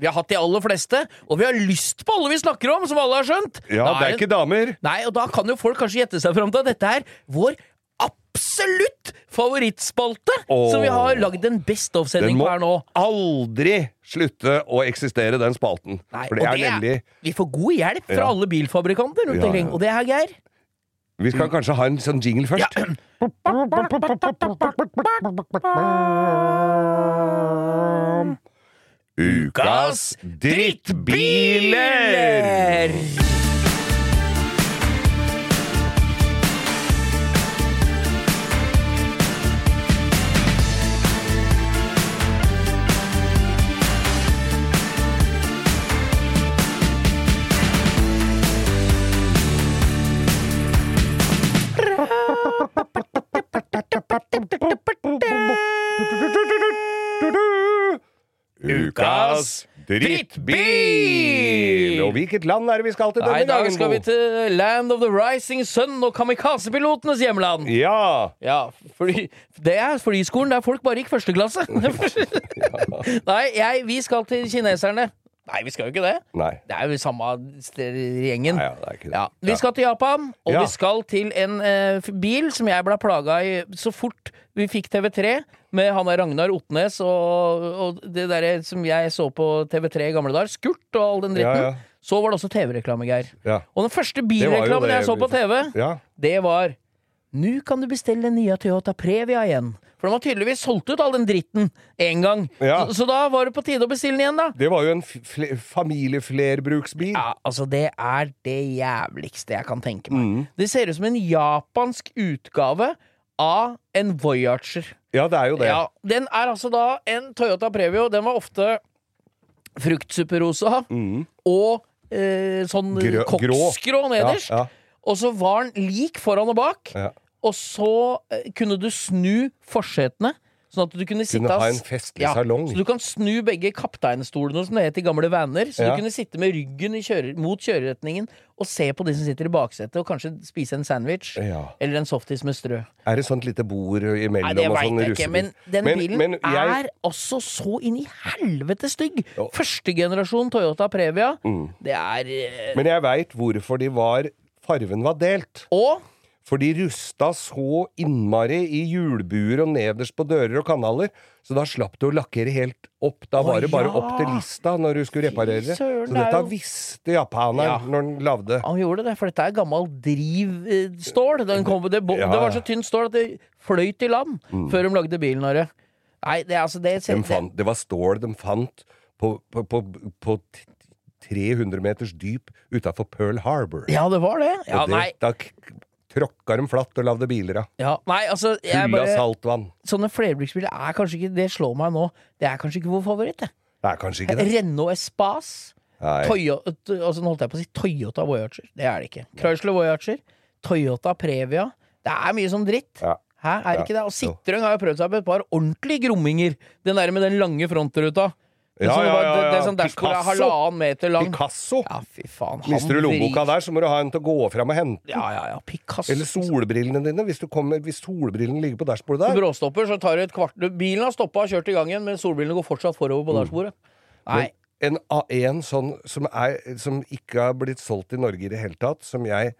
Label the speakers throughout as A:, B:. A: Vi har hatt de aller fleste, og vi har lyst på alle vi snakker om, som alle har skjønt.
B: Ja,
A: Da
B: det er
A: en-
B: ikke damer.
A: Nei, og da kan jo folk kanskje gjette seg fram til at dette er vår absolutt favorittspalte,
B: Åh.
A: som vi har lagd en Best
B: Den
A: of-sending
B: må
A: på her nå.
B: aldri slutte å eksistere, den spalten.
A: Nei,
B: For det
A: og
B: er nemlig
A: Vi får god hjelp fra
B: Ja.
A: alle bilfabrikanter rundt
B: Ja,
A: omkring,
B: ja.
A: og det her, Geir
B: Vi
A: Mm.
B: skal kanskje ha en sånn jingle først? Ukas drittbiler! Ukas drittbil! Og hvilket land er det vi skal til
A: Nei,
B: denne
A: i dag
B: gangen,
A: skal vi til Land of the Rising Sun og kamikazepilotenes hjemland.
B: Ja!
A: Ja, fordi, det er flyskolen der folk bare gikk første klasse. Nei, jeg, vi skal til kineserne. Nei, vi skal jo ikke det.
B: Nei.
A: Det er jo samme sted i gjengen.
B: Nei, ja, det er ikke det. Ja.
A: Ja. Vi skal til Japan, og
B: Ja.
A: vi skal til en eh, f- bil som jeg ble plaga i så fort vi fikk TV3, med han der Ragnar Otnes og, og det derre som jeg så på TV3 i gamle dager, Skurt og all den dritten.
B: Ja, ja.
A: Så var det også TV-reklame, Geir.
B: Ja.
A: Og den første
B: Det var jo
A: bilreklamen
B: det
A: jeg så på TV,
B: Ja.
A: det var Nå kan du bestille den nye Toyota Previa igjen. For den var tydeligvis solgt ut, all den dritten, én gang.
B: Ja.
A: Så, så da var det på tide å bestille den igjen, da.
B: Det var jo en f- fle- familieflerbruksbil.
A: Ja, altså Det er det jævligste jeg kan tenke meg.
B: Mm.
A: Det ser ut som en japansk utgave av en Voyager.
B: Ja, det er jo det.
A: Ja, den er altså da en Toyota Previo. Den var ofte fruktsuperosa og eh, sånn
B: Mm. Grø-
A: koksgrå nederst.
B: Ja, ja.
A: Og så var den lik foran og bak.
B: Ja.
A: Og så eh, kunne du snu forsetene. Sånn at du kunne sitte
B: ha
A: ass-
B: en festlig salong.
A: Så du kan snu begge kapteinstolene, som det het i gamle vaner. Så
B: Ja.
A: du kunne sitte med ryggen i kjører, mot kjøreretningen og se på de som sitter i baksetet, og kanskje spise en sandwich.
B: Ja.
A: Eller en softis med strø.
B: Er det sånt lite bord
A: Nei,
B: imellom
A: det
B: og
A: veit
B: sånn
A: jeg ikke,
B: russebil?
A: men den
B: Men-
A: bilen
B: men jeg-
A: er altså så inn i helvete stygg!
B: Ja.
A: Første generasjon Toyota Previa,
B: Mm.
A: det er eh,
B: Men jeg veit hvorfor de var Farven var delt.
A: Og
B: For de rusta så innmari i hjulbuer og nederst på dører og kanaler, så da slapp du å lakkere helt opp. Da var det bare
A: ja.
B: opp til lista når du skulle reparere. det. så
A: søren, det er
B: dette
A: jo-
B: visste japaneren
A: Ja.
B: når han lagde.
A: han gjorde det, for dette er gammel drivstål. Den kom, det, bo-
B: Ja. Mm.
A: det var så tynt stål at det fløyt i land før de lagde bilen vår. Nei, det er altså det,
B: De
A: det,
B: fant, det var stål de fant på, på, på, på t- 300 meters dyp utafor Pearl Harbor.
A: Ja, det var det. Ja,
B: og det,
A: nei,
B: da k- tråkka de flatt og lagde biler av.
A: ja, nei altså jeg
B: Full av
A: bare,
B: saltvann.
A: Sånne flerbruksbiler er kanskje ikke Det slår meg nå. Det er kanskje ikke vår favoritt. det.
B: Det er kanskje ikke det.
A: Renault Espace.
B: Nei.
A: Toyota, altså, nå holdt jeg på å si Toyota Voyager. Det er det ikke. Chrysler Voyager. Toyota Previa. Det er mye sånn dritt.
B: Ja.
A: Hæ, er
B: Ja.
A: det ikke det? Og Citroën har jo prøvd seg på et par ordentlige grumminger. Den der med den lange frontruta. Det
B: Ja,
A: som
B: ja,
A: var-
B: ja,
A: Det, det
B: ja.
A: er sånn dashbordet er
B: Picasso.
A: halvannen meter lang.
B: Picasso!
A: Ja, fy faen. han
B: Mister du lommeboka
A: vrir-
B: der, så må du ha en til å gå fram og hente.
A: Ja, ja, ja. Picasso.
B: Eller solbrillene dine. Hvis, du kommer, hvis solbrillene ligger på dashbordet der.
A: bråstopper, så tar du et kvart Bilen har stoppa og kjørt i gang igjen, men solbrillene går fortsatt forover
B: Mm.
A: på dashbordet. Nei.
B: En, av- en sånn som, er, som ikke har blitt solgt i Norge i det hele tatt, som jeg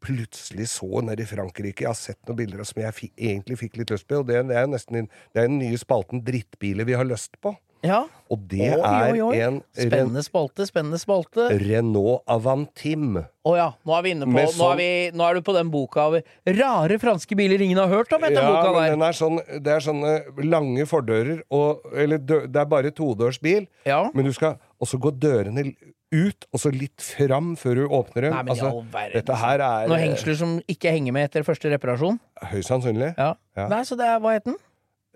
B: plutselig så nede i Frankrike. Jeg har sett noen bilder som jeg fi, egentlig fikk litt lyst på, og det, det er nesten din- det er den nye spalten Drittbiler vi har lyst på.
A: Ja.
B: Og det
A: Oi,
B: er
A: oi, oi.
B: en Ren,
A: Spennende spalte, spennende spalte.
B: Renault Avantim.
A: Å ja, nå er vi inne på
B: Med
A: nå,
B: sånn-
A: er vi, nå er du på den boka over rare franske biler ingen har hørt om, heter
B: Ja,
A: boka
B: men
A: der.
B: den er sånn, det er sånne lange fordører, og, eller dø, det er bare todørs bil.
A: Ja.
B: Men du skal også gå dørene ut, og så litt fram før du åpner dem.
A: Nei, men i all verden.
B: dette her er
A: Noen hengsler som ikke henger med etter første reparasjon.
B: eh, høyst sannsynlig.
A: Ja.
B: Ja.
A: Nei, så det er, hva het den?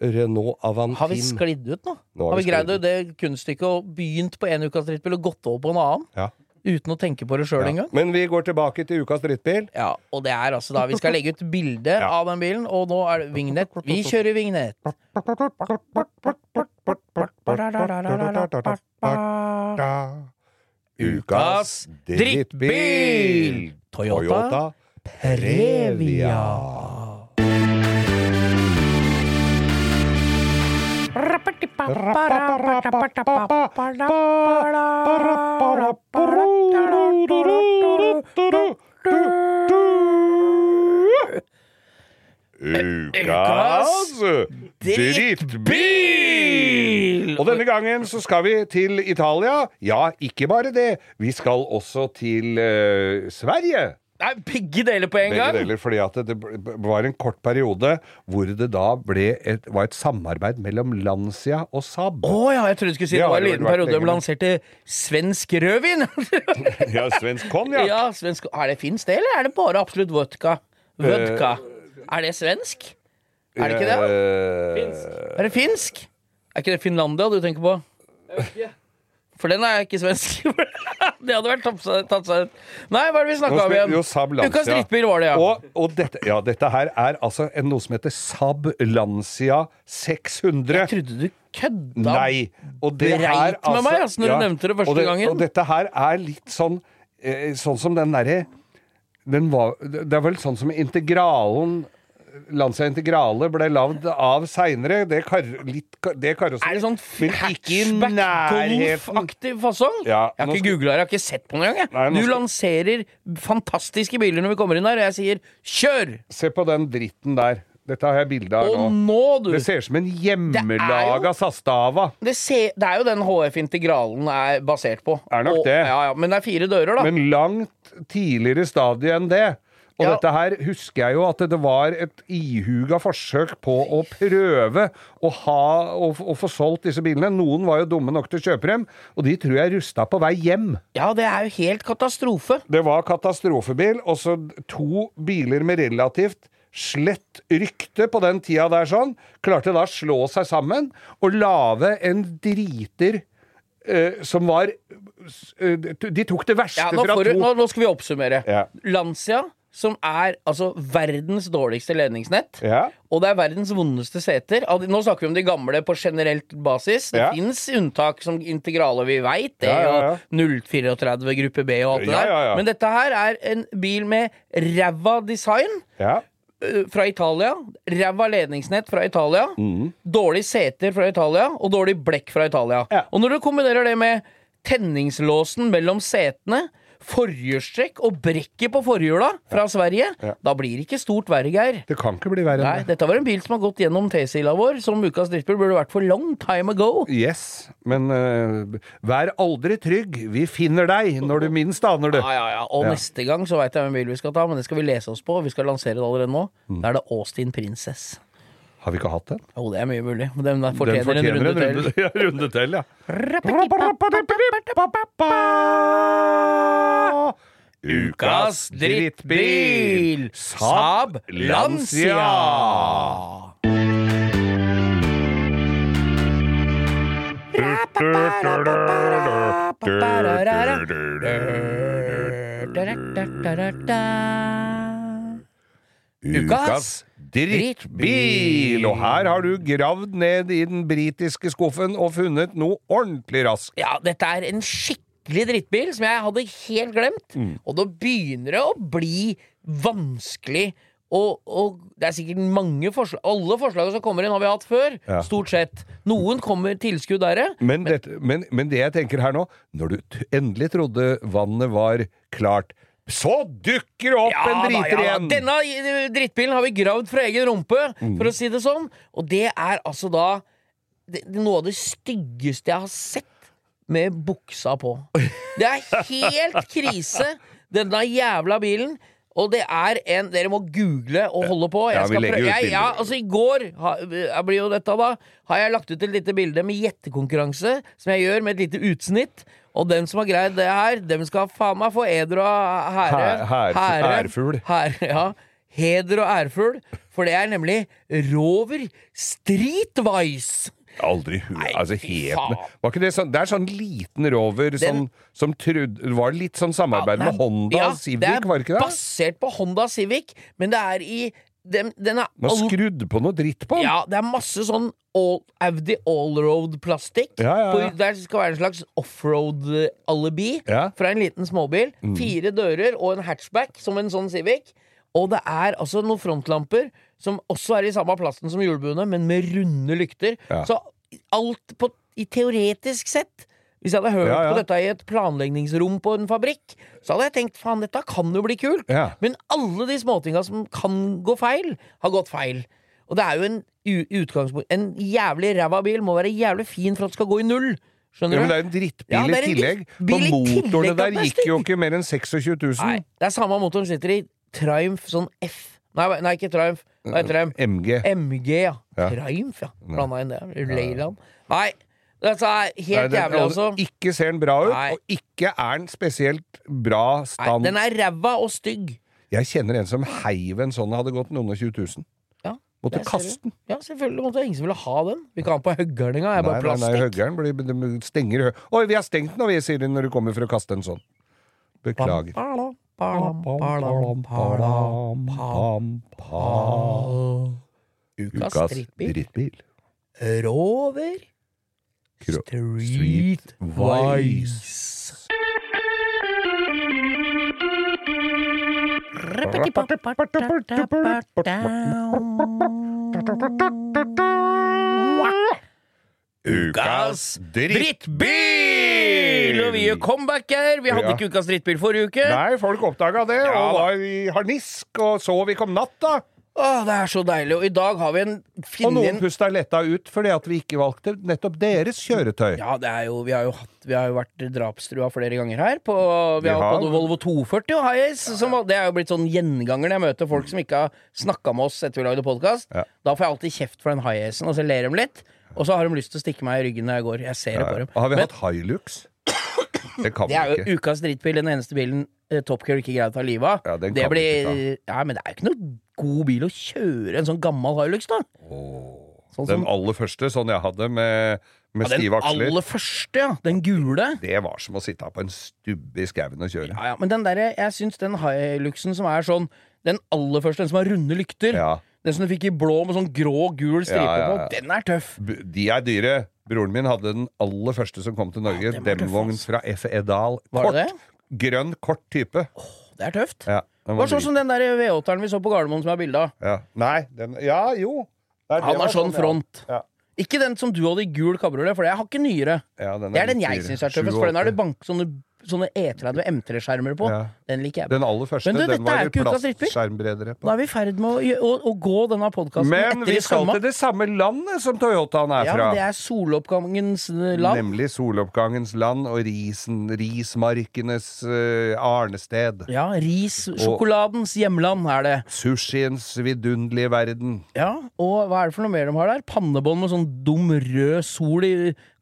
B: Renault
A: Har vi
B: Avantim.
A: sklidd ut nå?
B: Nå har
A: har vi
B: vi
A: greid
B: sklidd ut.
A: det kunststykket og begynt på én ukas drittbil og gått over på en annen?
B: Ja.
A: Uten å tenke på det sjøl
B: Ja.
A: engang?
B: Men vi går tilbake til ukas drittbil.
A: Ja, og det er altså da Vi skal legge ut bilde av den bilen, og nå er det vignett. Vi kjører vignett.
B: Ukas drittbil!
A: Toyota.
B: Toyota Previa. Ukas drittbil! Og denne gangen så skal vi til Italia. Ja, ikke bare det. Vi skal også til eh, Sverige.
A: Nei, begge deler på en
B: Begge
A: gang!
B: deler, fordi at det b- b- var en kort periode hvor det da ble et, var et samarbeid mellom Lancia og Saab.
A: Å ja, jeg trodde du skulle si
B: Det
A: det
B: har
A: var en
B: det
A: liten
B: vel vært
A: periode de
B: lenge, men-
A: lanserte svensk rødvin!
B: Ja, svensk konjakk.
A: ja, svensk Er det finsk det, eller er det bare absolutt vodka? Vodka.
B: Eh,
A: Er det svensk? Er det ikke det?
B: det?
A: Er det finsk? Er ikke det Finlandia du tenker på? For den er ikke svensk. det hadde vært tatt seg- tatt seg ut. Nei, hva er det vi snakka om igjen?
B: Jo, Saab Lancia.
A: Ukas drittbil var det, ja.
B: Og, og dette, ja, dette her er altså en, noe som heter Saab Lancia 600.
A: Jeg trodde du kødda.
B: Nei. Og det
A: Breit
B: her,
A: med meg, altså, når du nevnte det første
B: og
A: gangen.
B: Og dette her er litt sånn eh, Sånn som den derre den var, Det er vel sånn som integralen Lancia Integrale ble lagd av seinere. Det, kar, litt kar- det
A: Er det
B: karosseriet
A: sånn
B: Men ikke i nærheten.
A: hatchback-golf-aktig fasong?
B: Ja,
A: jeg har
B: nå
A: ikke
B: skal-
A: googla det, jeg har ikke sett på den engang.
B: Nei,
A: jeg.
B: nå
A: Du
B: skal-
A: lanserer fantastiske biler når vi kommer inn her, og jeg sier 'kjør'!
B: Se på den dritten der. Dette har jeg bilde av
A: Og
B: nå.
A: nå, du!
B: Det ser ut som en hjemmelaga Sastava.
A: Det, se, det er jo den HF-integralen er basert på.
B: Er nok
A: og,
B: det.
A: Ja, ja, men det er fire dører, da.
B: Men langt tidligere stadie enn det. Og
A: Ja.
B: dette her husker jeg jo at det var et ihuga forsøk på å prøve å, ha, å, å få solgt disse bilene. Noen var jo dumme nok til å kjøpe dem, og de tror jeg rusta på vei hjem.
A: Ja, det er jo helt katastrofe.
B: Det var katastrofebil, og så to biler med relativt slett rykte på den tida der sånn, klarte da å slå seg sammen og lage en driter eh, som var eh, De tok det verste
A: Ja, nå,
B: fra
A: får du,
B: to.
A: nå, nå skal vi oppsummere.
B: Ja.
A: Lancia, som er altså verdens dårligste ledningsnett,
B: Ja.
A: og det er verdens vondeste seter. Av de- Nå snakker vi om de gamle på generelt basis. Det
B: Ja.
A: fins unntak som integrale, vi veit det,
B: Ja, ja, ja.
A: og 034 gruppe B og alt det
B: Ja,
A: der.
B: ja, ja.
A: Men dette her er en bil med ræva design
B: Ja.
A: eh, fra Italia. Ræva ledningsnett fra Italia.
B: Mhm.
A: Dårlig seter fra Italia, og dårlig blekk fra Italia.
B: Ja.
A: Og når du kombinerer det med tenningslåsen mellom setene, forhjulstrekk og brekket på forhjula fra Sverige,
B: Ja.
A: da blir det ikke stort verre, Geir.
B: Det kan ikke bli verre
A: Nei,
B: enn det.
A: dette var en bil som har gått gjennom T-sila vår, som ukas drittbil burde vært for long time ago.
B: Yes, men eh, vær aldri trygg. Vi finner deg når du minst aner det.
A: Ja, ja, ja. Og
B: Ja.
A: neste gang så veit jeg hvem bil vi skal ta, men det skal vi lese oss på. Vi skal lansere det allerede nå. Da er det Austin Princess.
B: Har vi ikke hatt den?
A: Jo, det er mye mulig. Men den der
B: Den
A: fortjener, en runde til.
B: Ja, runde til, ja. Ukas drittbil! Saab Lancia! Ukas drittbil! Og her har du gravd ned i den britiske skuffen og funnet noe ordentlig raskt.
A: Ja, dette er en skikkelig drittbil som jeg hadde helt glemt. Og da begynner det å bli vanskelig. Og, og det er sikkert mange forslag Alle forslagene som kommer inn, har vi hatt før.
B: Ja.
A: Stort sett. Noen kommer tilskudd der.
B: Men, dette, men, men det jeg tenker her nå, når du t endelig trodde vannet var klart, så dukker det opp
A: Ja
B: en
A: da, ja
B: driter
A: da.
B: igjen! Mm.
A: Denne eh, drittbilen har vi gravd fra egen rumpe, for å si det sånn. Og det er altså da det, det er noe av det styggeste jeg har sett med buksa på. Det er helt krise, denne jævla bilen. Og det er en Dere må google og holde på. Jeg
B: Ja, vi
A: skal
B: legger
A: prøve-
B: ut
A: jeg,
B: bilder.
A: ja, altså I går ha, jeg blir jo dette da har jeg lagt ut et lite bilde med gjettekonkurranse, som jeg gjør med et lite utsnitt. Og den som har greid det her, dem skal faen meg få eder og ære.
B: Hæ- hær- ærfugl.
A: Her, ja. Heder og ærfugl, for det er nemlig Rover Streetwise.
B: Jeg har Aldri hu... altså,
A: fy
B: hetene
A: faen.
B: Var ikke det sånn Det er sånn liten rover sånn, som trodde Det var litt sånn samarbeid med
A: Nei,
B: Honda
A: ja,
B: Civic, var det ikke
A: Det er
B: det?
A: basert på Honda Civic, men det er i den, den er
B: Man
A: alt-
B: skrudde på noe dritt på den.
A: Ja, det er masse sånn all, Audi allroad-plastikk.
B: Ja, ja, ja.
A: På- Der skal være en slags offroad-alibi
B: Ja. Mm.
A: fra en liten småbil. Fire dører og en hatchback, som en sånn Civic. Og det er altså noen frontlamper som også er i samme plasten som hjulbuene, men med runde lykter.
B: Ja.
A: Så alt på, i teoretisk sett hvis jeg hadde hørt
B: Ja, ja.
A: på dette i et planleggingsrom på en fabrikk, så hadde jeg tenkt faen, dette kan jo bli kult.
B: Ja.
A: Men alle de småtinga som kan gå feil, har gått feil. Og det er jo en u- utgangspunkt En jævlig ræva bil må være jævlig fin for at den skal gå i null.
B: Ja,
A: Skjønner
B: men det
A: du?
B: er en drittbil
A: Ja, det
B: i
A: er en
B: tillegg.
A: drittbil
B: For
A: i
B: motorene
A: tillegg,
B: der
A: den er
B: gikk jo
A: stygg.
B: ikke mer enn 26
A: Nei,
B: 000.
A: det er samme motoren sitter i. Triumph, sånn F Nei, nei ikke Triumph. Hva
B: Mm.
A: heter det?
B: MG.
A: MG, ja. Triumph, ja. Blanda inn det. Leyland. Nei, dette er
B: Nei,
A: helt
B: den-
A: jævlig, altså.
B: og Ikke ser den bra ut,
A: Nei.
B: og ikke er den spesielt bra
A: Nei,
B: stand.
A: den er ræva og stygg.
B: Jeg kjenner en som heiv en sånn, hadde gått noen og 20 000.
A: Ja,
B: Måtte
A: det ser du.
B: kaste den.
A: Ja, selvfølgelig måtte ingen som ville ha den. Vi kan ha den på høggerninga. Jeg
B: Nei,
A: er bare
B: nei, nei,
A: plastikk.
B: høggeren blir, de stenger hø... Oi, vi har stengt den, og vi sier det når du kommer for å kaste en sånn. Beklager.
A: Palam, palam, palam, palam, palam. Ukas
B: Ukas
A: drittbil.
B: drittbil.
A: Rover
B: Kro-
A: Streetwise.
B: Ukas drittbil!
A: Nå er vi gjør comeback her. Vi hadde
B: Ja.
A: ikke ukas drittbil forrige uke.
B: Nei, folk oppdaga det,
A: Ja,
B: og
A: da.
B: var i harnisk, og sov ikke om natta.
A: Åh, det er så deilig. Og i dag har vi en
B: Og
A: finne
B: noen
A: en
B: pusta letta ut fordi at vi ikke valgte nettopp deres kjøretøy.
A: ja, det er jo, vi, har jo hatt, vi har jo vært drapstrua flere ganger her. På, vi
B: Vi
A: har
B: har.
A: hatt både Volvo 240 og Highas. Som, det er jo blitt sånn gjenganger når jeg møter folk som ikke har snakka med oss etter vi lagde podkast.
B: Ja.
A: Da får jeg alltid kjeft for den Highasen, og så ler de litt. Og så har de lyst til å stikke meg i ryggen når jeg går. Jeg ser det på dem.
B: Og har vi
A: Men-
B: hatt Hilux? Det kan
A: Det er
B: vi
A: jo
B: ikke.
A: ukas drittbil. Den eneste bilen eh, Top Gear ikke greide å ta livet av.
B: Ja, den
A: det
B: kan vi ikke
A: ja, men det er jo ikke noe god bil å kjøre en sånn gammel Hilux, da.
B: Den
A: Sånn som,
B: aller første sånn jeg hadde med, med
A: ja, den
B: stive aksler,
A: aller første, ja. Den gule.
B: det var som å sitte på en stubbe i skauen og kjøre.
A: Ja, ja, men den derre, jeg syns den Hiluxen som er sånn Den aller første, den som har runde lykter.
B: Ja.
A: Den som du fikk i blå med sånn grå, gul stripe
B: Ja, ja, ja.
A: på. Den er tøff.
B: B- De er dyre. Broren min hadde den aller første som kom til Norge.
A: Ja, den var tøff,
B: Demvogn
A: ass.
B: fra FE Dal.
A: Var det
B: Kort. Grønn, kort type.
A: Det er tøft.
B: Ja, den var
A: Det var sånn
B: drit.
A: som den der V8-eren vi så på Gardermoen, som jeg har bilde av.
B: Ja. Nei, den Ja, jo. Nei, det
A: Han
B: var
A: har sånn
B: ja.
A: front.
B: Ja.
A: Ikke den som du hadde i gul kabriolet, for jeg har ikke nyere.
B: Ja, den
A: Det er den
B: litt
A: jeg
B: dyrere.
A: syns er tøffest, for den har
B: 87.
A: du bank sånne, sånne E30 M3-skjermer på.
B: Ja.
A: Den liker jeg.
B: Den aller første.
A: Men du,
B: den
A: dette
B: var
A: er
B: i
A: jo ikke ukas drittbil.
B: plastskjermbredere.
A: Da
B: På.
A: er vi i ferd med å, gjø- å, å gå denne podkasten
B: Men
A: etter
B: vi
A: i
B: skal
A: sømma.
B: til det samme landet som Toyotaen er
A: Ja,
B: fra.
A: men det er soloppgangens eh, land.
B: Nemlig soloppgangens land og risen, rismarkenes eh, arnested.
A: Ja, Ris-sjokoladens hjemland er det.
B: Sushiens vidunderlige verden.
A: Ja, Og hva er det for noe mer de har der? Pannebånd med sånn dum rød sol i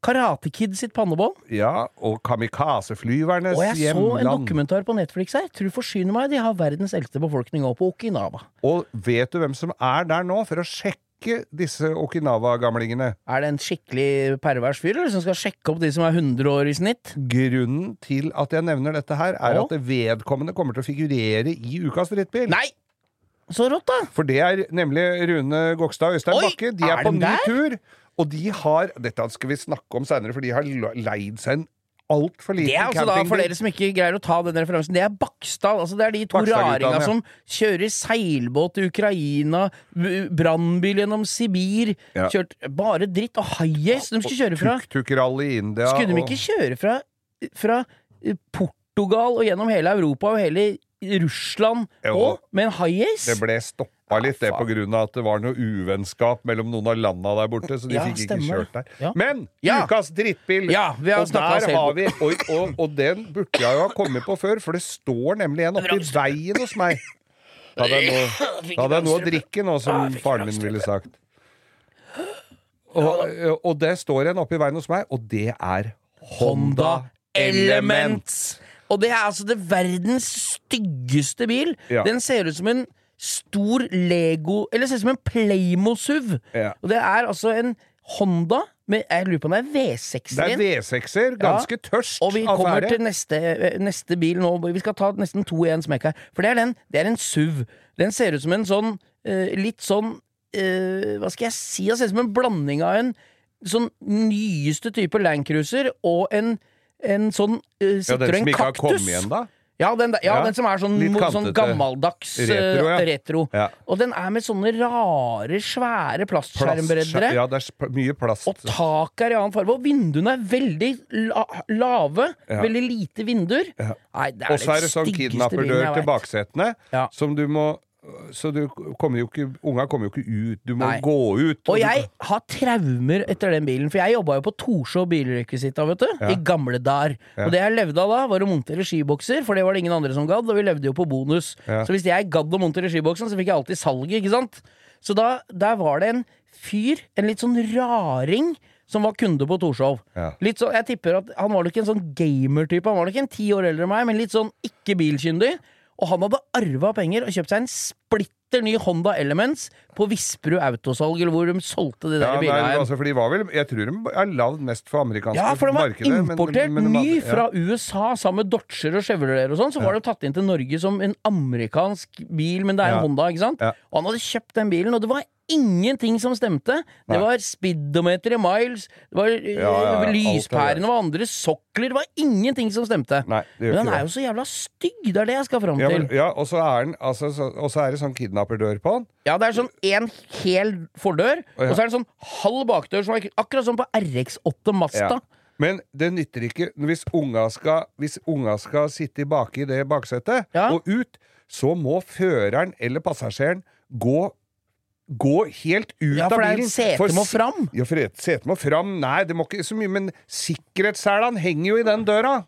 A: Karate Kid sitt pannebånd.
B: Ja, og kamikazeflyvernes
A: Og jeg så en
B: hjemland.
A: dokumentar på Netflix her. Tror du forsyner meg, de har verdens eldste befolkning òg på Okinawa.
B: Og vet du hvem som er der nå for å sjekke disse Okinawa-gamlingene?
A: Er det en skikkelig pervers fyr eller, som skal sjekke opp de som er 100 år i snitt?
B: Grunnen til at jeg nevner dette her, er
A: Ja.
B: at det vedkommende kommer til å figurere i ukas drittbil.
A: Nei! Så rått, da!
B: For det er nemlig Rune Gokstad og Øystein
A: Oi,
B: Bakke. De
A: er
B: er, på
A: de
B: ny
A: der?
B: tur. Og de har Dette skal vi snakke om seinere, for de har la- leid seg en altfor liten
A: Det er altså da, for dere som ikke greier å ta den referansen, det er Baksdal. Altså det er de to
B: Bakstadgutta,
A: raringa
B: ja.
A: som kjører seilbåt til Ukraina, b- brannbil gjennom Sibir,
B: Ja.
A: kjørt bare dritt, og high-ace de skulle kjøre fra.
B: Tuk-tuk-rally i India.
A: Skulle de
B: og-
A: ikke kjøre fra, fra eh, Portugal og gjennom hele Europa og hele Russland
B: Jo.
A: og med en high-ace?
B: Det ble stoppa litt, det,
A: faen.
B: på grunn av at det var noe uvennskap mellom noen av landa der borte, så de
A: Ja,
B: fikk ikke
A: stemmer
B: kjørt der.
A: Ja.
B: Men
A: Ja.
B: ukas drittbil!
A: Ja, vi har
B: og
A: snakket oss
B: der
A: helt
B: har
A: bort.
B: vi og, og, og den burde jeg jo ha kommet på før, for det står nemlig en oppi veien hos meg. Da hadde jeg noe, da hadde jeg noe å drikke nå, som faren min ville sagt. Og, og det står en oppi veien hos meg, og det er Honda Element.
A: Og det er altså det verdens styggeste bil.
B: Ja.
A: Den ser ut som en stor Lego Eller ser ut som en Playmo-SUV.
B: Ja.
A: Og det er altså en Honda med Jeg lurer på om det er
B: Det er
A: V6-en.
B: V6-er. Ganske tørst
A: Og vi
B: affære.
A: kommer til neste, eh, neste bil nå. hvor Vi skal ta nesten to i en smekk her. For det er den. Det er en SUV. Den ser ut som en sånn eh, litt sånn eh, Hva skal jeg si? Den ser ut som en blanding av en sånn nyeste type landcruiser og en, en sånn uh,
B: ja, den
A: Citroën
B: som ikke har
A: kaktus.
B: kommet igjen, da?
A: Ja, den, der- ja,
B: Ja.
A: den som er sånn,
B: Litt
A: mo- sånn
B: kantete.
A: gammeldags eh, retro.
B: Retro, ja. Ja.
A: Og den er med sånne rare, svære plastskjermbreddere.
B: Plast- Ja, det er sp- mye plast.
A: Og taket er i annen farge, og vinduene er veldig la lave.
B: Ja.
A: Veldig lite vinduer.
B: Ja.
A: Nei, det
B: Og så er det
A: den
B: sånn
A: styggeste bilen
B: kidnapperdør
A: jeg
B: til
A: vet.
B: baksetene,
A: Ja.
B: som du må Så du kommer jo ikke Unga kommer jo ikke ut. Du må
A: Nei.
B: gå ut.
A: Og
B: du-
A: jeg har traumer etter den bilen, for jeg jobba jo på Torshov bilrekvisita, vet du. I gamle dar.
B: Ja.
A: Og det jeg levde av da, var å montere skibokser, for det var det ingen andre som gadd, og vi levde jo på bonus.
B: Ja.
A: Så hvis jeg gadd å montere skiboksen, så fikk jeg alltid salget, ikke sant? Så da, der var det en fyr, en litt sånn raring, som var kunde på Torshov.
B: Ja.
A: Litt sånn, jeg tipper at Han var nok en sånn gamer-type. Han var nok en ti år eldre enn meg, men litt sånn ikke bilkyndig. Og han hadde arva penger og kjøpt seg en splitter ny Honda Elements på Visperud Autosalg, eller hvor de solgte de
B: ja,
A: der
B: nei,
A: bilene. her.
B: altså, for de var vel Jeg tror de er lagd mest for amerikanske
A: Ja, for den var
B: Altså, markedet, men-
A: importert
B: men de hadde- ja.
A: ny fra USA sammen med Dodger og Chevrolet og sånn. Så var det tatt inn til Norge som en amerikansk bil, men det er en
B: Ja.
A: Honda, ikke sant?
B: Ja.
A: Og han hadde kjøpt den bilen, og det var ingenting som stemte. Det
B: Nei.
A: var speedometer i miles, det var eh,
B: ja, ja, alt er det.
A: lyspærene var andre sokler, det var ingenting som stemte.
B: Nei, det gjør
A: Men han
B: ikke
A: er jo så jævla stygg, det er det jeg skal fram
B: Ja,
A: til.
B: men, ja, og så er, den, altså, så, og så er det sånn kidnapperdør på den.
A: Ja, det er sånn én hel fordør,
B: Å, ja.
A: og så er det sånn halv bakdør, som er akkurat som på RX8 Mazda.
B: Ja. Men det nytter ikke hvis unga skal, hvis unga skal sitte baki det baksetet
A: Ja.
B: og ut, så må føreren eller passasjeren gå, gå helt ut
A: Ja,
B: av
A: for det er
B: bilen.
A: setet må
B: si-
A: fram.
B: Ja, for et- setet må fram. Nei, det må ikke så mye, men sikkerhetsselen henger jo i den døra.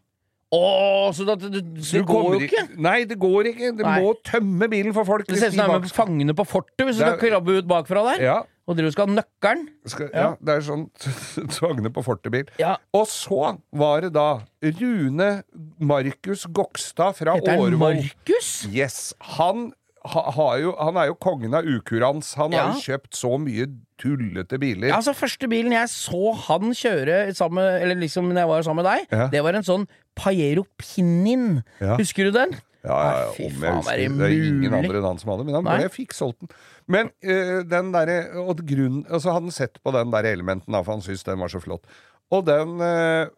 A: Å, så det, det,
B: Så
A: det
B: du
A: går
B: kommer
A: jo ikke!
B: Nei, det går ikke. Du
A: Nei.
B: må tømme bilen for folk.
A: Det
B: hvis
A: ser ut
B: de
A: som det er
B: bak-
A: med fangene på fortet, hvis du
B: Det
A: skal
B: er-
A: krabbe ut bakfra der.
B: ja,
A: Og dere skal ha nøkkelen.
B: skal, ja.
A: Ja.
B: det er sånn tvangene på fortebil.
A: Ja.
B: Og så var det da Rune Markus Gokstad fra
A: Heter han
B: Årvoll.
A: Markus?
B: Yes, han, ha, har jo, han er jo kongen av ukurans. Han
A: Ja.
B: har jo kjøpt så mye tullete biler.
A: Altså, første bilen jeg så han kjøre sammen, eller liksom når jeg var sammen med deg,
B: Ja.
A: det var en sånn Pajero Pinin.
B: Ja.
A: Husker du den?
B: Ja, ja, ja,
A: Nei, fy
B: om jeg
A: faen,
B: husker.
A: er det
B: det er ingen
A: mulig?
B: andre enn han som hadde, men han
A: Nei.
B: ble, fikk solgt den. Men eh, den derre Og grunn, altså, han hadde sett på den der elementen, da, for han syntes den var så flott. Og den eh,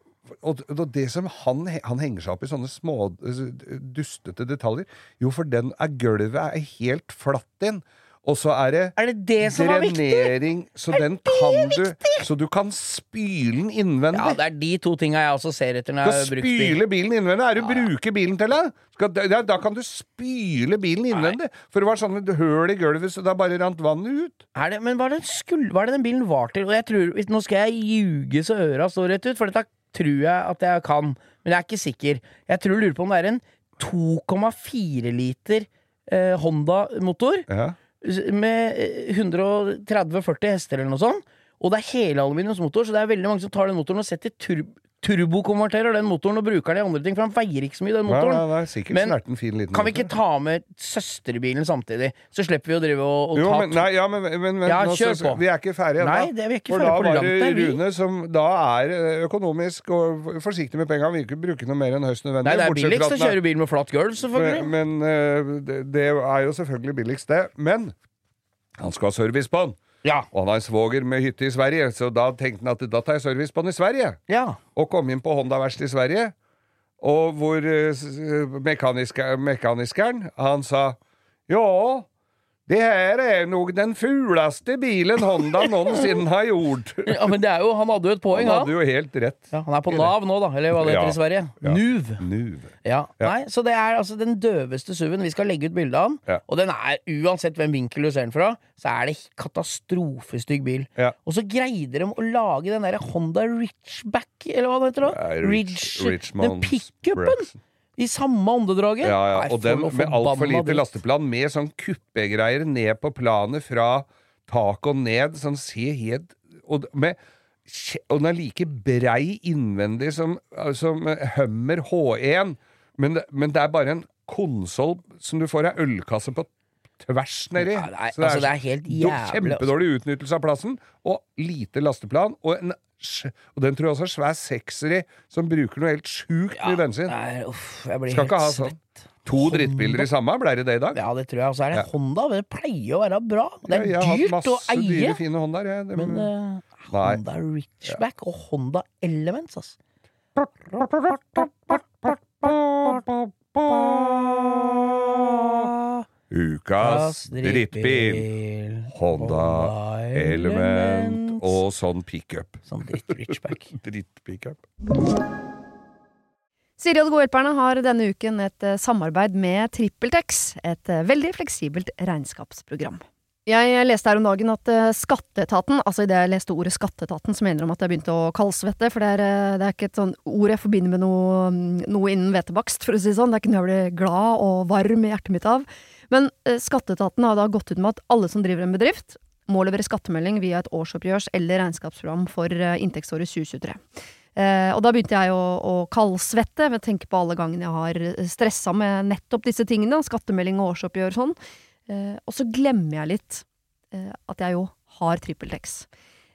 B: og, og det som han, he- han henger seg opp i sånne små eh, dustete detaljer Jo, for den er gulvet er helt flatt inn. Og så er det
A: Er det det som var viktig?
B: drenering, så den kan du Så du kan spyle den
A: Ja,
B: innvendig.
A: det er de to tinga jeg også ser etter når
B: Du
A: jeg
B: skal
A: har brukt bil.
B: spyle bilen innvendig. Er du bruker bilen til det? Skal, da, da kan du spyle bilen innvendig. For det var sånn et høl i gulvet, så da bare rant vannet ut.
A: Er det, men hva er, det den skulle, hva er det den bilen var til? Og jeg tror, hvis- nå skal jeg ljuge så øra står rett ut, for dette tror jeg at jeg kan. Men jeg er ikke sikker. Jeg tror jeg lurer på om det er en 2,4 liter eh, Honda-motor
B: Ja.
A: med eh, 130-40 hester eller noe sånt. Og det er helaluminiumsmotor, så det er veldig mange som tar den motoren og setter tur turbokonverterer den motoren og bruker den i andre ting, for den veier ikke så mye, den
B: Nei,
A: motoren.
B: nei, nei, sikkert
A: Men
B: snerten fin liten
A: Kan vi
B: motor.
A: ikke ta med søsterbilen samtidig? Så slipper vi å drive og, og
B: jo,
A: ta
B: men, nei, ja, men, men, men
A: Ja,
B: nå,
A: kjør
B: så-
A: på.
B: Vi er ikke ferdige
A: Nei, det er vi ikke
B: For
A: ferdig
B: da
A: på
B: var
A: langt, det
B: det
A: er vi.
B: Rune som da er ø, økonomisk og f- forsiktig med penga. Han vil ikke bruke noe mer enn høyst nødvendig.
A: Nei, det er
B: bortsett fra at
A: billigst å
B: den er-
A: kjøre bil med flatt gulv, selvfølgelig.
B: Men, men, eh, det, det er jo selvfølgelig billigst, det. Men han skal ha service på han.
A: Ja.
B: Og han har en svoger med hytte i Sverige, så da tenkte han at da tar jeg service på han i Sverige.
A: ja.
B: Og kom inn på Honda-verkstedet i Sverige, og hvor eh, s- mekaniske- mekaniskeren, han sa Ja, det her er nok den fuleste bilen Honda noensinne har gjort.
A: ja, men det er jo, han hadde jo et poeng,
B: Han
A: han.
B: hadde jo helt rett.
A: Ja, han er på Nav nå, da, eller hva det heter
B: Ja.
A: i Sverige.
B: Ja.
A: NUV.
B: Nu.
A: Ja.
B: Ja.
A: Nei, så det er altså den døveste SUV-en. Vi skal legge ut bilde av den.
B: Ja.
A: Og den er, uansett hvem vinkel du ser den fra, så er det katastrofestygg bil.
B: Ja.
A: Og så greide de å lage den derre Honda Ridgeback, eller hva det heter da?
B: Nei, Ridge-
A: den
B: Richmond
A: pickupen!
B: Braxton.
A: I samme åndedraget.
B: Ja, ja.
A: Nei,
B: Og
A: for
B: den
A: noe
B: med altfor
A: forbanna
B: lite
A: dritt.
B: lasteplan, med sånn kuppegreier ned på planet fra tak og ned, sånn se helt Og, d- med, kje- og den er like brei innvendig som, som Hummer H1, men, det- men det er bare en konsoll som du får ei ølkasse på tvers nedi.
A: Ja, det er-
B: Så det er
A: altså, det er helt
B: do-
A: jævlig,
B: Kjempedårlig utnyttelse av plassen, og lite lasteplan. Og, en, sj- og den tror jeg også er svær sekser i, som bruker noe helt sjukt mye bensin.
A: Nei, uff, jeg blir
B: Skal
A: helt
B: ikke ha
A: svett.
B: sånn. To drittbiler i samme, blei det det i dag?
A: Ja, det tror jeg. Og så er det Honda. men Det pleier å være bra. Det er
B: jeg har hatt
A: dyrt å
B: masse
A: eie.
B: dyre, fine Hondaer, jeg. Det-
A: Men eh,
B: Nei.
A: Honda Richback og Honda Elements, altså.
B: Ukas drittbil. Honda Element og sånn pickup.
A: Sånn dritt Richback.
B: Drittpickup.
C: Siri og de gode hjelperne har denne uken et eh, samarbeid med TrippelTex, et eh, veldig fleksibelt regnskapsprogram. Jeg leste her om dagen at eh, Skatteetaten, altså idet jeg leste ordet Skatteetaten, så mener de at jeg begynte å kaldsvette, for det er, eh, det er ikke et sånn ord jeg forbinder med noe, mm, noe innen hvetebakst, for å si det sånn. Det er ikke noe jeg blir glad og varm i hjertet mitt av. Men eh, Skatteetaten har da gått ut med at alle som driver en bedrift, må levere skattemelding via et årsoppgjørs- eller regnskapsprogram for eh, inntektsåret 2023. Eh, og da begynte jeg å, å kaldsvette ved å tenke på alle gangene jeg har stressa med nettopp disse tingene. Skattemelding og årsoppgjør og sånn. Eh, og så glemmer jeg litt eh, at jeg jo har TrippelTex.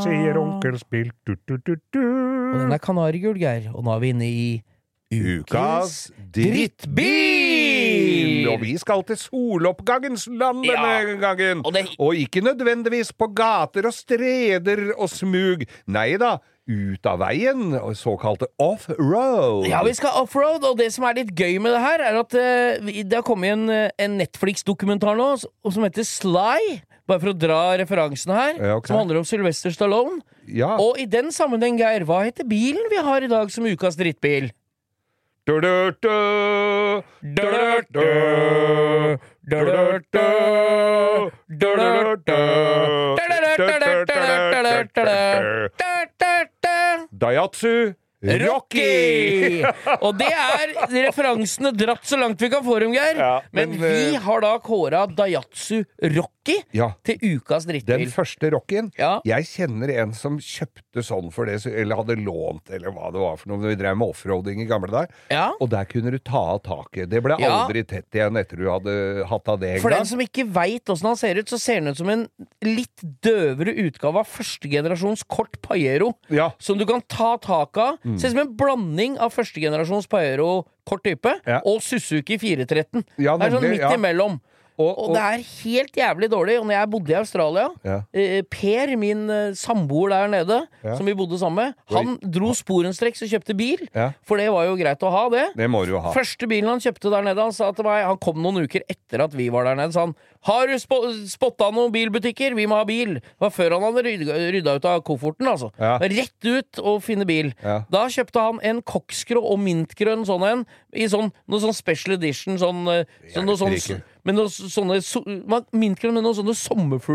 D: Sier onkel Spill.
A: Og den er kanarigul, Geir. Og nå er vi inne i
B: Ukas drittbil! Og vi skal til soloppgangens land denne gangen.
A: Og
B: Og,
A: det-
B: ikke nødvendigvis på gater og streder og smug. Nei da, ut av veien. og Såkalte off-road.
A: Ja, vi skal offroad, og det som er litt gøy med det her, er at eh, vi- det har kommet en, eh, en Netflix-dokumentar nå s- og som heter Sly. Bare for å dra referansen her,
B: Ja, ok.
A: som handler om Sylvester Stallone.
B: Ja.
A: Og i den sammenheng, Geir, hva heter bilen vi har i dag som ukas drittbil?
B: Du-du-du, du-du-du, du-du-du, du-du-du. Daihatsu Rocky!
A: Rocky! Og det er referansene dratt så langt vi kan få dem, Geir.
B: Ja,
A: men,
B: men,
A: vi
B: eh,
A: har da kåra Daiatsu Rocky
B: Ja.
A: til ukas
B: Den
A: drittbil.
B: første rocken.
A: Ja.
B: Jeg kjenner en som kjøpte sånn for det, eller hadde lånt, eller hva det var for noe. Vi drev med offroading i gamle dager.
A: Ja.
B: Og der kunne du ta av taket. Det ble
A: Ja.
B: aldri tett igjen etter du hadde hatt av det en
A: For den
B: gang.
A: som ikke veit åssen han ser ut, så ser han ut som en litt døvere utgave av førstegenerasjons Kort Paiero.
B: Ja.
A: Som du kan ta tak av.
B: Mm.
A: Ser ut som en blanding av førstegenerasjons Paiero kort type
B: Ja.
A: og Suzuki 413.
B: Ja,
A: det er sånn
B: nemlig,
A: midt
B: ja.
A: imellom.
B: Og,
A: Og det er helt jævlig dårlig. Og når jeg bodde i Australia
B: Ja.
A: eh, Per, min eh, samboer der nede,
B: Ja.
A: som vi bodde sammen med, han dro sporenstreks og kjøpte bil.
B: Ja.
A: For det var jo greit å ha, det.
B: det må du jo ha.
A: Første bilen han kjøpte der nede, han sa til meg Han kom noen uker etter at vi var der nede, sa han. Har du spo spotta noen bilbutikker? Vi må ha bil! Det var før han hadde rydda, rydda ut av kofferten, altså.
B: Ja.
A: Rett ut og finne bil.
B: Ja.
A: Da kjøpte han en koksgrå og mintgrønn sånn en, i sånn, noe sånn special edition, sånn, eh, sånn noe sånn
B: Hjerterike.
A: med noe så- sånne so man- Mintgrønn med noen sånne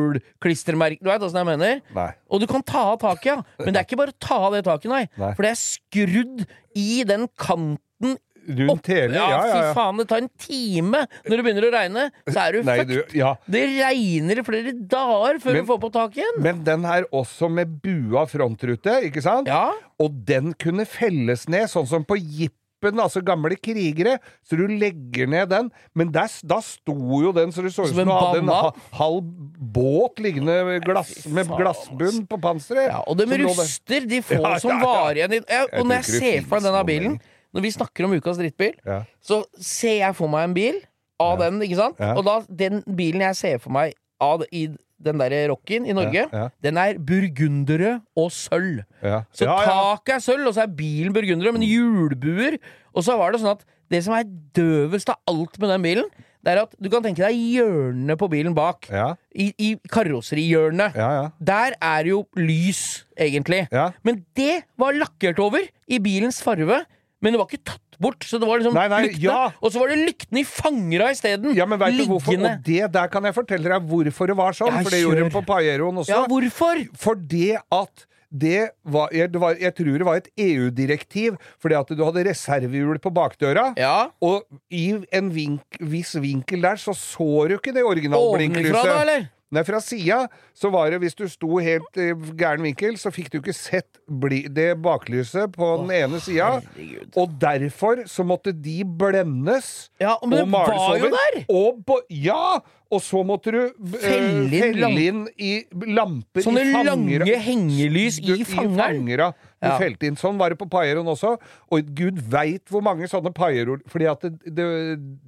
A: sommerfuglklistremerker, du veit åssen jeg mener?
B: Nei.
A: Og du kan ta av taket, ja. Men det er ikke bare å ta av det taket, nei.
B: Nei.
A: For det er skrudd i den kanten
B: Rundt hele,
A: ja,
B: ja, ja.
A: fy
B: ja.
A: faen, det tar en time når det begynner å regne. Så er du
B: Nei,
A: fucked.
B: du, ja.
A: Det regner i flere dager før
B: Men-
A: du får på tak igjen.
B: Men den her også med bua frontrute, ikke sant?
A: Ja.
B: Og den kunne felles ned, sånn som på jippo. Klippen, altså gamle krigere. Så du legger ned den. Men der, s- da sto jo den så du så ut
A: Som
B: som
A: en
B: du hadde en
A: banna.
B: ha, halv båt liggende med glass, med
A: faen, altså.
B: glassbunn på panseret.
A: Ja, og de
B: Som lå der.
A: ruster, de få
B: Ja, ja,
A: som
B: ja.
A: varer igjen i ja,
B: Jeg
A: Og når
B: tror
A: jeg
B: ikke det
A: ser for meg
B: finnes
A: denne
B: noen
A: bilen, når vi snakker om ukas drittbil,
B: Ja.
A: så ser jeg for meg en bil av den, ikke sant?
B: Ja.
A: Og da, den bilen jeg ser for meg av i den derre rocken i Norge,
B: ja.
A: den er burgundere og sølv.
B: Ja.
A: Så
B: ja, ja.
A: taket er sølv, og så er bilen burgundere, men hjulbuer. Og så var det sånn at det som er døvest av alt med den bilen, det er at du kan tenke deg hjørnet på bilen bak.
B: Ja,
A: I, i karosserihjørnet.
B: ja, ja.
A: Der er jo lys, egentlig.
B: Ja.
A: Men det var lakkert over i bilens farve. Men det var ikke tatt bort, så det var liksom
B: Nei, nei,
A: lyktene.
B: ja.
A: Og så var det lyktene i fangera isteden.
B: Ja, men vet du hvorfor?
A: Liggende.
B: Og det der kan jeg fortelle deg hvorfor det var sånn,
A: Ja,
B: for det gjorde
A: kjør.
B: de på Pajeroen også.
A: Ja, hvorfor?
B: Fordi at det var, jeg, det var, jeg tror det var et EU-direktiv, fordi at du hadde reservehjul på bakdøra.
A: Ja.
B: Og i en vink, viss vinkel der så så du ikke det
A: Ovenifra da,
B: originalblinklyset.
A: eller?
B: Nei, fra sida så var det Hvis du sto helt i gæren vinkel, så fikk du ikke sett bli, det baklyset på den ene sida.
A: herregud.
B: Og derfor så måtte de blendes
A: Ja, men det var jo der!
B: Og bo, ja! Og så måtte du eh,
A: Felle inn
B: felle
A: lamp-
B: inn i lamper
A: Sånne
B: i fangera.
A: lange hengelys i
B: Du-
A: fangeren.
B: fangera. Du
A: Ja.
B: felte inn. Sånn var det på Pajeroen også. Og gud veit hvor mange sånne Pajeroer Fordi at det, det,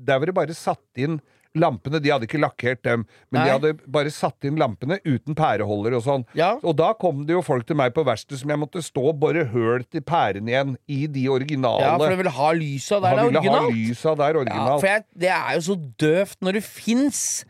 B: der var det bare satt inn lampene. De hadde ikke lakkert dem, men de
A: Nei.
B: hadde bare satt inn lampene uten pæreholder og sånn.
A: Ja.
B: Og da kom det jo folk til meg på verkstedet som jeg måtte stå og bore høl til pæren igjen i de originale.
A: Ja, for du vil ha lysa der,
B: Han
A: det er
B: ville ha
A: originalt.
B: lysa der
A: Ja,
B: originalt.
A: for jeg, det er jo så døvt når det fins.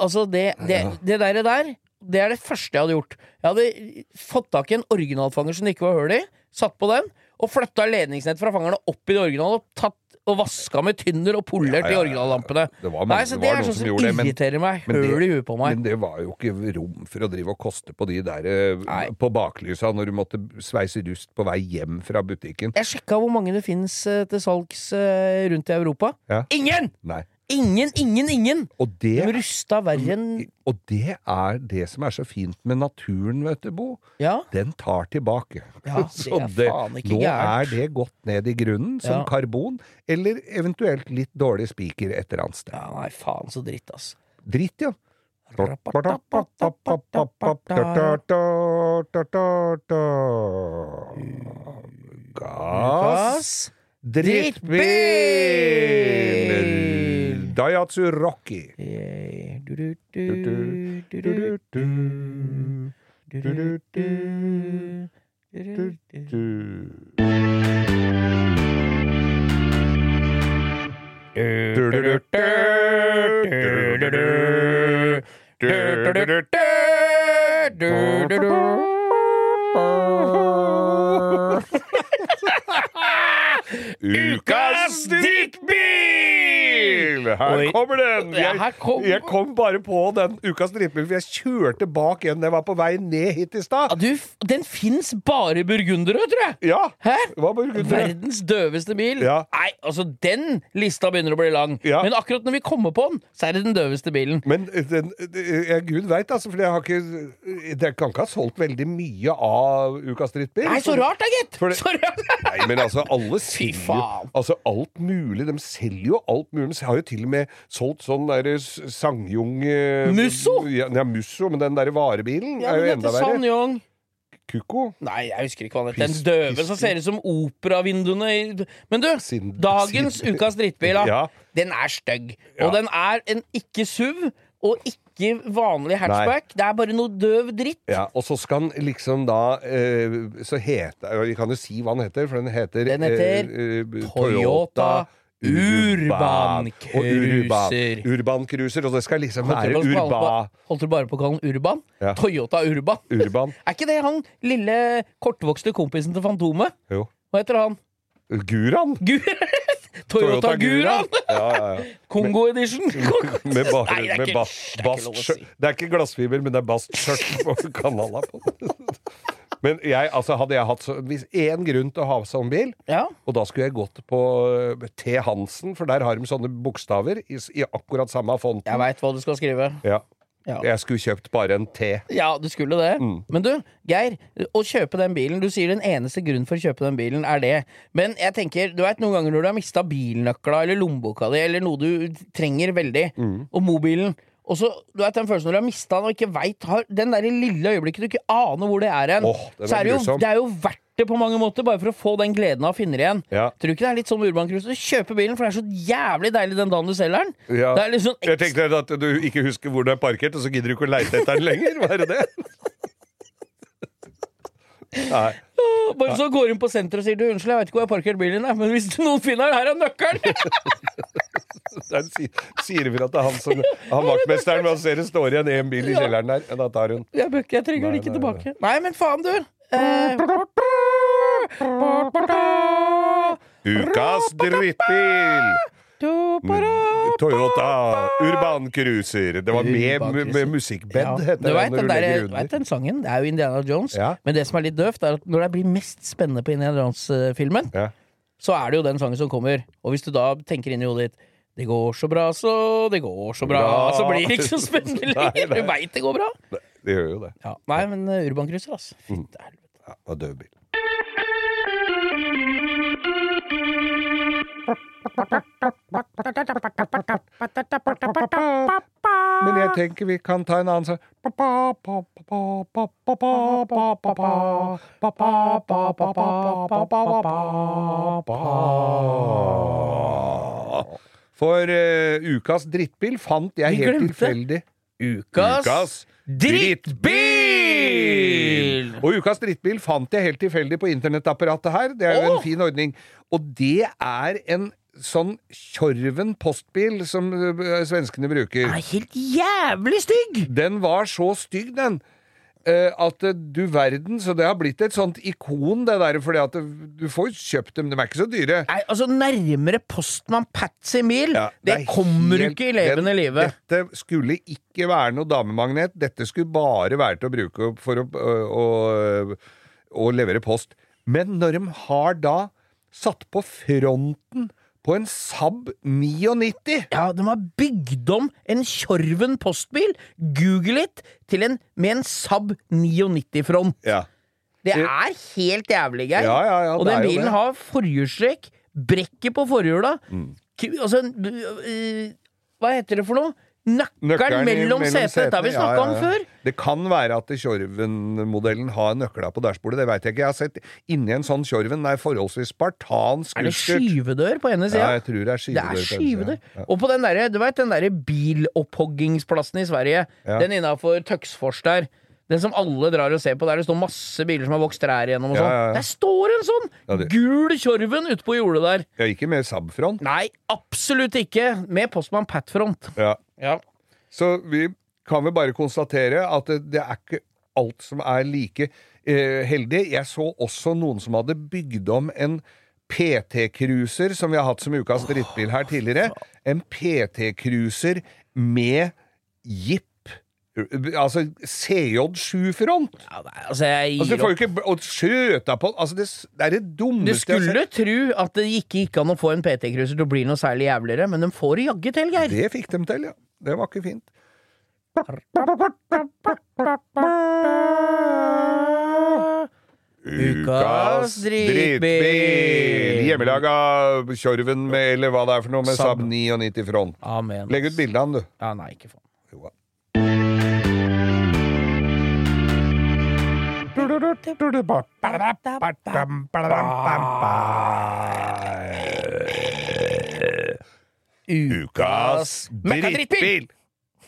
A: Altså, det, det, det der, der, det er det første jeg hadde gjort. Jeg hadde fått tak i en originalfanger som det ikke var hull i, satt på den, og flytta ledningsnett fra fangerne opp i det originale og tatt og vaska med tynner og polert
B: Ja, ja, ja.
A: i originallampene.
B: Det var mange-
A: Nei, så
B: det
A: det
B: var
A: er
B: noen som
A: sånn som
B: gjorde det, men-
A: irriterer meg.
B: men det-
A: Høl i huet på meg.
B: Men det var jo ikke rom for å drive og koste på de der eh,
A: Nei.
B: på baklysa når du måtte sveise rust på vei hjem fra butikken.
A: Jeg sjekka hvor mange det fins til salgs eh, rundt i Europa.
B: Ja.
A: Ingen!
B: Nei.
A: Ingen, ingen, ingen!
B: Og
A: De
B: det
A: rusta verre enn
B: Og det er det som er så fint med naturen, vet du, Bo.
A: Ja.
B: Den tar tilbake.
A: Ja, det
B: Så
A: er faen ikke
B: nå
A: gærent.
B: er det gått ned i grunnen, som
A: Ja.
B: karbon, eller eventuelt litt dårlig spiker et eller annet sted.
A: ja. Nei, faen så dritt, ass.
B: Dritt, ja. Gass
A: Ass.
B: Drittbil! Daihatsu Rocky. Ukas drittbil! Her
A: Oi.
B: kommer den!
A: Ja, her
B: Jeg,
A: kom-
B: jeg kom bare på den ukas drittbil, for jeg kjørte bak en da jeg var på vei ned hit i
A: Ja,
B: stad.
A: du, den fins bare i burgundere, tror jeg!
B: Ja,
A: Hæ?
B: det var bare gutter.
A: Verdens døveste bil.
B: Ja.
A: Nei, altså Den lista begynner å bli lang.
B: Ja.
A: Men akkurat når vi kommer på den, så er det den døveste bilen.
B: Men den, ja, gud veit, altså, for jeg har ikke Jeg kan ikke ha solgt veldig mye av ukas drittbil.
A: Nei, så rart da, gitt!
B: For det-
A: Så rart.
B: Nei, men altså, alle selger jo
A: faen.
B: altså, alt mulig. De selger jo alt mulig. De har jo til og med solgt sånn derre sangjung... eh,
A: Musso?
B: Ja, ja, Musso, men den derre varebilen
A: Ja,
B: er
A: men
B: jo
A: dette
B: enda verre.
A: San Young
B: Kukko.
A: Nei, jeg husker ikke hva den het. Den
B: Pist-
A: døve
B: pist-
A: som ser ut som operavinduene i Men du,
B: Sin-
A: dagens
B: sin-
A: ukas drittbil, da,
B: Ja.
A: den er stygg.
B: Ja.
A: Og den er en ikke SUV, og ikke vanlig hatchback. Det er bare noe døv dritt.
B: Ja, og så skal han liksom da eh, Så heter Vi kan jo si hva den heter, for den heter
A: Den heter
B: eh, eh,
A: Toyota Urban
B: Og Urban,
A: Cruiser.
B: Urban Cruiser. Og det skal liksom
A: Holdt
B: være
A: du bare på-
B: urba,
A: Holdt du bare på å kalle den Urban?
B: Ja.
A: Toyota Urban.
B: urban.
A: Er ikke det han lille kortvokste kompisen til Fantomet?
B: Jo.
A: Hva heter han?
B: Guran!
A: Gur Toyota Guran!
B: Ja, ja, ja.
A: Kongo edition!
B: Med bare,
A: Nei, det er
B: med
A: ikke-
B: ba,
A: det er ikke lov å
B: bastskjørt.
A: si.
B: Det er ikke glassfiber, men det er bastskjørt på kanala på den. Men jeg, altså, hadde jeg hatt så, hvis én grunn til å ha sånn bil,
A: Ja.
B: og da skulle jeg gått på eh, T. Hansen, for der har de sånne bokstaver i, s- i akkurat samme fonten.
A: Jeg veit hva du skal skrive.
B: Ja.
A: Ja.
B: Jeg skulle kjøpt bare en T.
A: Ja, du skulle det.
B: Mm.
A: Men du, Geir, å kjøpe den bilen Du sier den eneste grunnen for å kjøpe den bilen er det. Men jeg tenker, du veit noen ganger når du har mista bilnøkla eller lommeboka di, eller noe du trenger veldig,
B: Mm.
A: og mobilen og så, du vet den følelsen når du har mista den og ikke veit Den der lille øyeblikket du ikke aner hvor det er hen,
B: Åh, den er
A: så er det, jo,
B: grusom.
A: det er jo verdt det på mange måter, bare for å få den gleden av å finne det igjen.
B: Ja.
A: Tror du ikke det er litt sånn med Urban Cruise? Du kjøper bilen, for det er så jævlig deilig den dagen du selger den.
B: Ja.
A: Det er litt sånn
B: Jeg tenkte at du ikke husker hvor den er parkert, og så gidder du ikke å leite etter den lenger. Hva er det det? Nei.
A: Bare så går hun på senteret og sier du, unnskyld, jeg vet ikke hvor jeg har parkert bilen, din, men hvis noen finner den, her er nøkkelen!
B: Der si- sier vi at det er han som Han vaktmesteren, men han ser det står igjen en bil i kjelleren der. Ja, Da tar hun.
A: Jeg, bør ikke, jeg trenger
B: Nei,
A: den ikke
B: nei,
A: tilbake. Nei, men faen, du! Eh,
B: Ukas drittbil! Toyota Urban Cruiser. Det var med,
A: Urban
B: med,
A: Cruiser.
B: med musikkbed, heter
A: du
B: det.
A: vet
B: når
A: den,
B: du
A: der,
B: legger
A: du
B: under.
A: vet den sangen? Det er jo Indiana Jones.
B: Ja.
A: Men det som er litt døvt, er at når det blir mest spennende på Indiana Jones-filmen,
B: Ja.
A: så er det jo den sangen som kommer. Og hvis du da tenker inn i hodet ditt det går så bra, så det går så bra,
B: Bra.
A: så blir det ikke så spennende
B: Nei,
A: lenger.
B: nei. Mm.
A: Du veit det går bra.
B: Det gjør jo det.
A: Ja. Nei, men eh, Urban Cruiser, altså. Fy, helvete.
B: Ja, og død bil. Men jeg tenker vi kan ta en annen sang. For eh, ukas drittbil fant jeg
A: Vi
B: helt
A: glemte.
B: tilfeldig.
A: Ukas, drittbil!
B: Og ukas drittbil fant jeg helt tilfeldig på internettapparatet her. Det er jo en fin ordning. Og det er en sånn Tjorven postbil som øh, svenskene bruker.
A: er helt jævlig stygg!
B: Den var så stygg, den. eh, At eh, du verden, så det har blitt et sånt ikon, det der, fordi at det- du får kjøpt dem, de er ikke så dyre.
A: Nei, altså Nærmere postmann Patsy Meal,
B: Ja,
A: det,
B: er
A: kommer du
B: helt-
A: ikke i levende
B: den-
A: live.
B: Dette skulle ikke være noe damemagnet. Dette skulle bare være til å bruke opp for å, å, å, å levere post. Men når de har da satt på fronten på en Saab 99
A: Ja, De har bygd om en Tjorven postbil, google it, til en med en Saab 99-front.
B: ja.
A: Det er helt jævlig, Geir.
B: Ja, ja, ja,
A: og
B: det
A: den
B: er jo
A: bilen
B: det.
A: har forhjulstrekk, brekket på forhjula
B: Mm.
A: ku- Altså, en- øh, hva heter det for noe? Nøkkelen,
B: Nøkkelen i-
A: mellom, setene. Dette har vi
B: setene, ja,
A: snakka
B: ja,
A: om
B: ja.
A: før.
B: Det kan være at Tjorven-modellen har nøkla på dashbordet, det veit jeg ikke. Jeg har sett inni en sånn Tjorven, det er forholdsvis spartansk
A: Er det
B: utstyrt.
A: skyvedør på ene sida?
B: Ja, jeg tror det er
A: Det
B: skyvedør.
A: er
B: på den siden.
A: skyvedør.
B: Ja.
A: Og på den derre du vet, den der bilopphoggingsplassen i Sverige,
B: Ja.
A: den innafor Tøksfors der, den som alle drar og ser på, der det står masse biler som har vokst trær igjennom og
B: Ja,
A: sånn,
B: ja, ja.
A: der står en sånn
B: Ja, det-
A: gul Tjorven ute på jordet der.
B: Ja, ikke med Saab-front.
A: Nei, absolutt ikke! Med postmann Pat-front.
B: Ja.
A: Ja.
B: Så vi kan vel bare konstatere at det, det er ikke alt som er like eh, heldig. Jeg så også noen som hadde bygd om en PT-cruiser, som vi har hatt som ukas drittbil her tidligere. En PT-cruiser med jeep. Altså CJ7-front!
A: ja nei, altså, jeg
B: Altså, du
A: gir
B: får
A: opp.
B: jo ikke Og skjøta på Altså, det, s- det er det
A: Du
B: dummeste jeg har
A: skulle tru at det ikke gikk an å få en PT-cruiser til å bli noe særlig jævligere, men de får det jaggu til, Geir.
B: Det fikk dem til, ja. Det var ikke fint.
A: Ukas drittbil.
B: Hjemmelaga Tjorven med, eller hva det er for noe, med
A: Saab.
B: Saab 99 Front.
A: Amen.
B: Legg ut bilde av den, du.
A: Ja, nei, ikke faen.
B: Jo, ja. Ukas drittbil!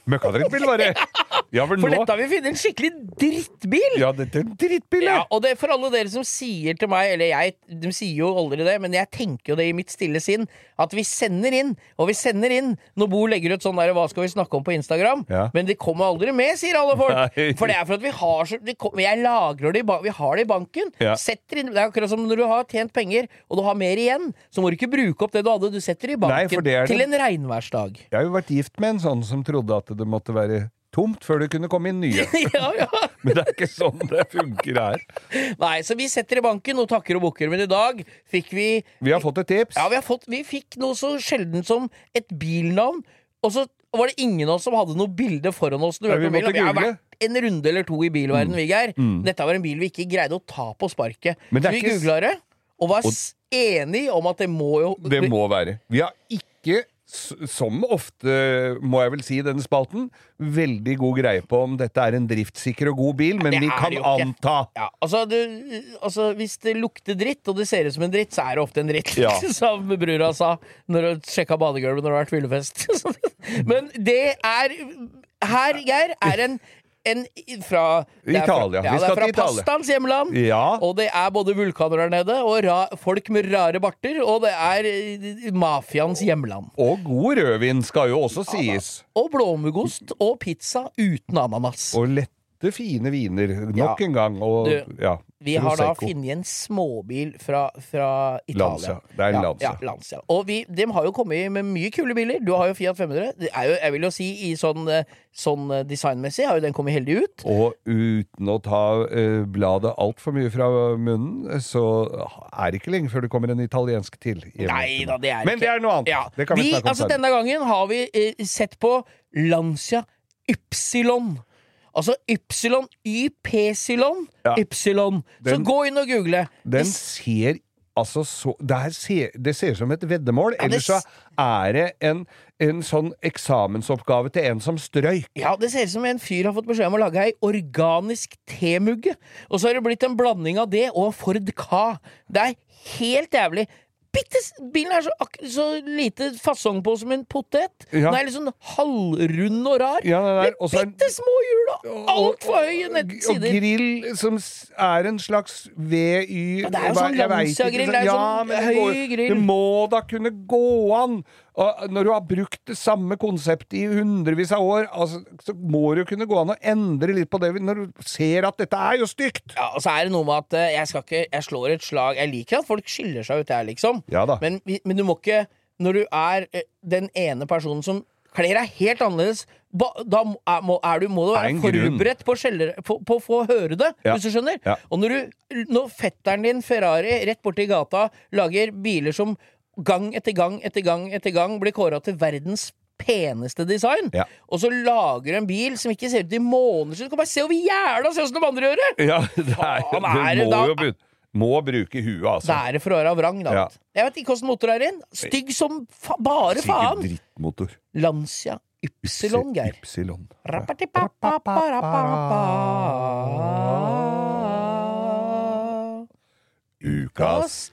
B: Møkkadrittbil, var det. Ja, for
A: For
B: nå
A: dette har vi funnet en skikkelig drittbil!
B: Ja, dette er en drittbil, ja.
A: Ja, og det er for alle dere som sier til meg, eller jeg, de sier jo aldri det, men jeg tenker jo det i mitt stille sinn, at vi sender inn, og vi sender inn når Bo legger ut sånn der 'hva skal vi snakke om' på Instagram,
B: Ja.
A: men de kommer aldri med, sier alle folk.
B: Nei.
A: For det er for at vi har så de kom, Jeg lagrer det i ba- Vi har det i banken.
B: Ja.
A: Setter inn Det er akkurat som når du har tjent penger, og du har mer igjen, så må du ikke bruke opp det du hadde, du setter det i
B: Nei,
A: banken
B: for det er
A: til
B: det-
A: en regnværsdag.
B: Jeg har jo vært gift med en sånn som trodde at det måtte være tomt før det kunne komme inn nye.
A: ja, ja.
B: Men det er ikke sånn det funker her.
A: Nei, så vi setter i banken og takker og bukker, men i dag fikk vi
B: Vi har fått et tips.
A: Ja, vi, har fått, vi fikk noe så sjelden som et bilnavn, og så Og var det ingen av oss som hadde noe bilde foran oss? Du
E: Ja,
A: hørte
E: vi
A: om bilen,
E: måtte
A: og vi har
E: google.
A: vært en runde eller to i
B: Mm.
A: bilverden, Viggeir. Dette var en bil vi ikke greide å ta på sparket.
B: Men det
A: Så
B: er
A: vi
B: ikke s-
A: googla det, og var s- enige om at det må jo
B: Det må være. Vi har ikke, s- som ofte, må jeg vel si, i denne spalten, veldig god greie på om dette er en driftssikker og god bil, men
A: det
B: vi
A: er
B: kan
A: det jo ikke.
B: anta.
A: ja, altså, det, altså, hvis det lukter dritt, og det ser ut som en dritt, så er det ofte en dritt,
B: Ja.
A: som brura sa når hun sjekka badegulvet når det har vært fyllefest. Så det- Men det er Her, Geir, er en, en fra det
B: Italia.
A: er Fra,
B: Vi
A: ja, det
B: skal
A: er fra
B: til Italia.
A: pastaens hjemland.
B: Ja.
A: Og det er både vulkaner der nede, og ra folk med rare barter, og det er eh, mafiaens hjemland.
B: Og god rødvin skal jo også sies.
A: Og blåmuggost og pizza uten ananas.
B: Og lette, fine viner. Nok en gang. Og,
A: Du,
B: ja,
A: Vi har da
B: Prosecco.
A: funnet en småbil fra, fra Italia.
B: Lancia. Det er en Lancia.
A: Ja, ja, Lancia. Og vi, de har jo kommet med mye kule biler. Du har jo Fiat 500. Det er jo, jeg vil jo si i sånn, eh, sånn eh, designmessig har jo den kommet heldig ut.
B: Og uten å ta eh, bladet altfor mye fra munnen, så er det ikke lenge før det kommer en italiensk til. hjemme.
A: Nei da, det er
B: Men
A: ikke
B: det er noe annet.
A: Ja.
B: Det kan vi, snakke om
A: altså,
B: senere.
A: Denne gangen har vi eh, sett på Lancia Ypsilon. Altså Ypsilon, YPsilon,
B: Ja.
A: Ypsilon. Så
B: Den-
A: gå inn og google.
B: Den
A: Hvis-
B: ser altså så der ser, Det ser ut som et veddemål.
A: Ja, det
B: Ellers så
A: s-
B: er det en, en sånn eksamensoppgave til en som strøyk.
A: Ja, Det ser ut som en fyr har fått beskjed om å lage ei organisk temugge. Og så har det blitt en blanding av det og en Ford Ka. Det er helt jævlig. Bitte, s- bilen er så, ak så lite fasong på som en potet.
B: Ja.
A: Den er litt sånn halvrund og rar.
B: Ja, den er-
A: med
B: og så er den-
A: bitte små hjul og
B: Og-
A: altfor høye
B: Og
A: nettsider.
B: grill som s- er en slags VY
A: Ja, det er
B: hva-
A: jo sånn
B: jeg vet ikke,
A: Lancia-grill, det er
B: ja,
A: sånn
B: men det må-
A: høy grill.
B: Det må da kunne gå an! Og når du har brukt det samme konseptet i hundrevis av år, altså, så må det jo kunne gå an å endre litt på det når du ser at dette er jo stygt!
A: Ja, og så er det noe med at eh, jeg, skal ikke, jeg slår et slag Jeg liker at folk skiller seg ut der, liksom.
B: Ja da.
A: Men, vi- men du må ikke Når du er eh, den ene personen som kler deg helt annerledes, ba, da må- er, må, er du, må du
B: Det er
A: være
B: en grunn.
A: forberedt på, å skjelle- på, på å få høre det,
B: Ja.
A: hvis du skjønner.
B: Ja.
A: Og når, du, når fetteren din, Ferrari, rett borti gata lager biler som gang etter gang etter gang etter gang blir kåra til verdens peneste design,
B: Ja.
A: og så lager du en bil som ikke ser ut i måneder siden Du kan bare se over gjerdet og se åssen de andre gjør det!
B: Ja, det,
A: er- Faen, er det da-
B: bu- må bruke huet, altså.
A: Da er det Ferrara Vrang, da.
B: Ja.
A: Jeg vet ikke hvordan motor er inn. Stygg som fa bare
B: Sikkert
A: faen!
B: drittmotor.
A: Lancia Ypsilon, Geir.
B: Ypsilon.
A: Rappatipapapapapa.
B: Ukas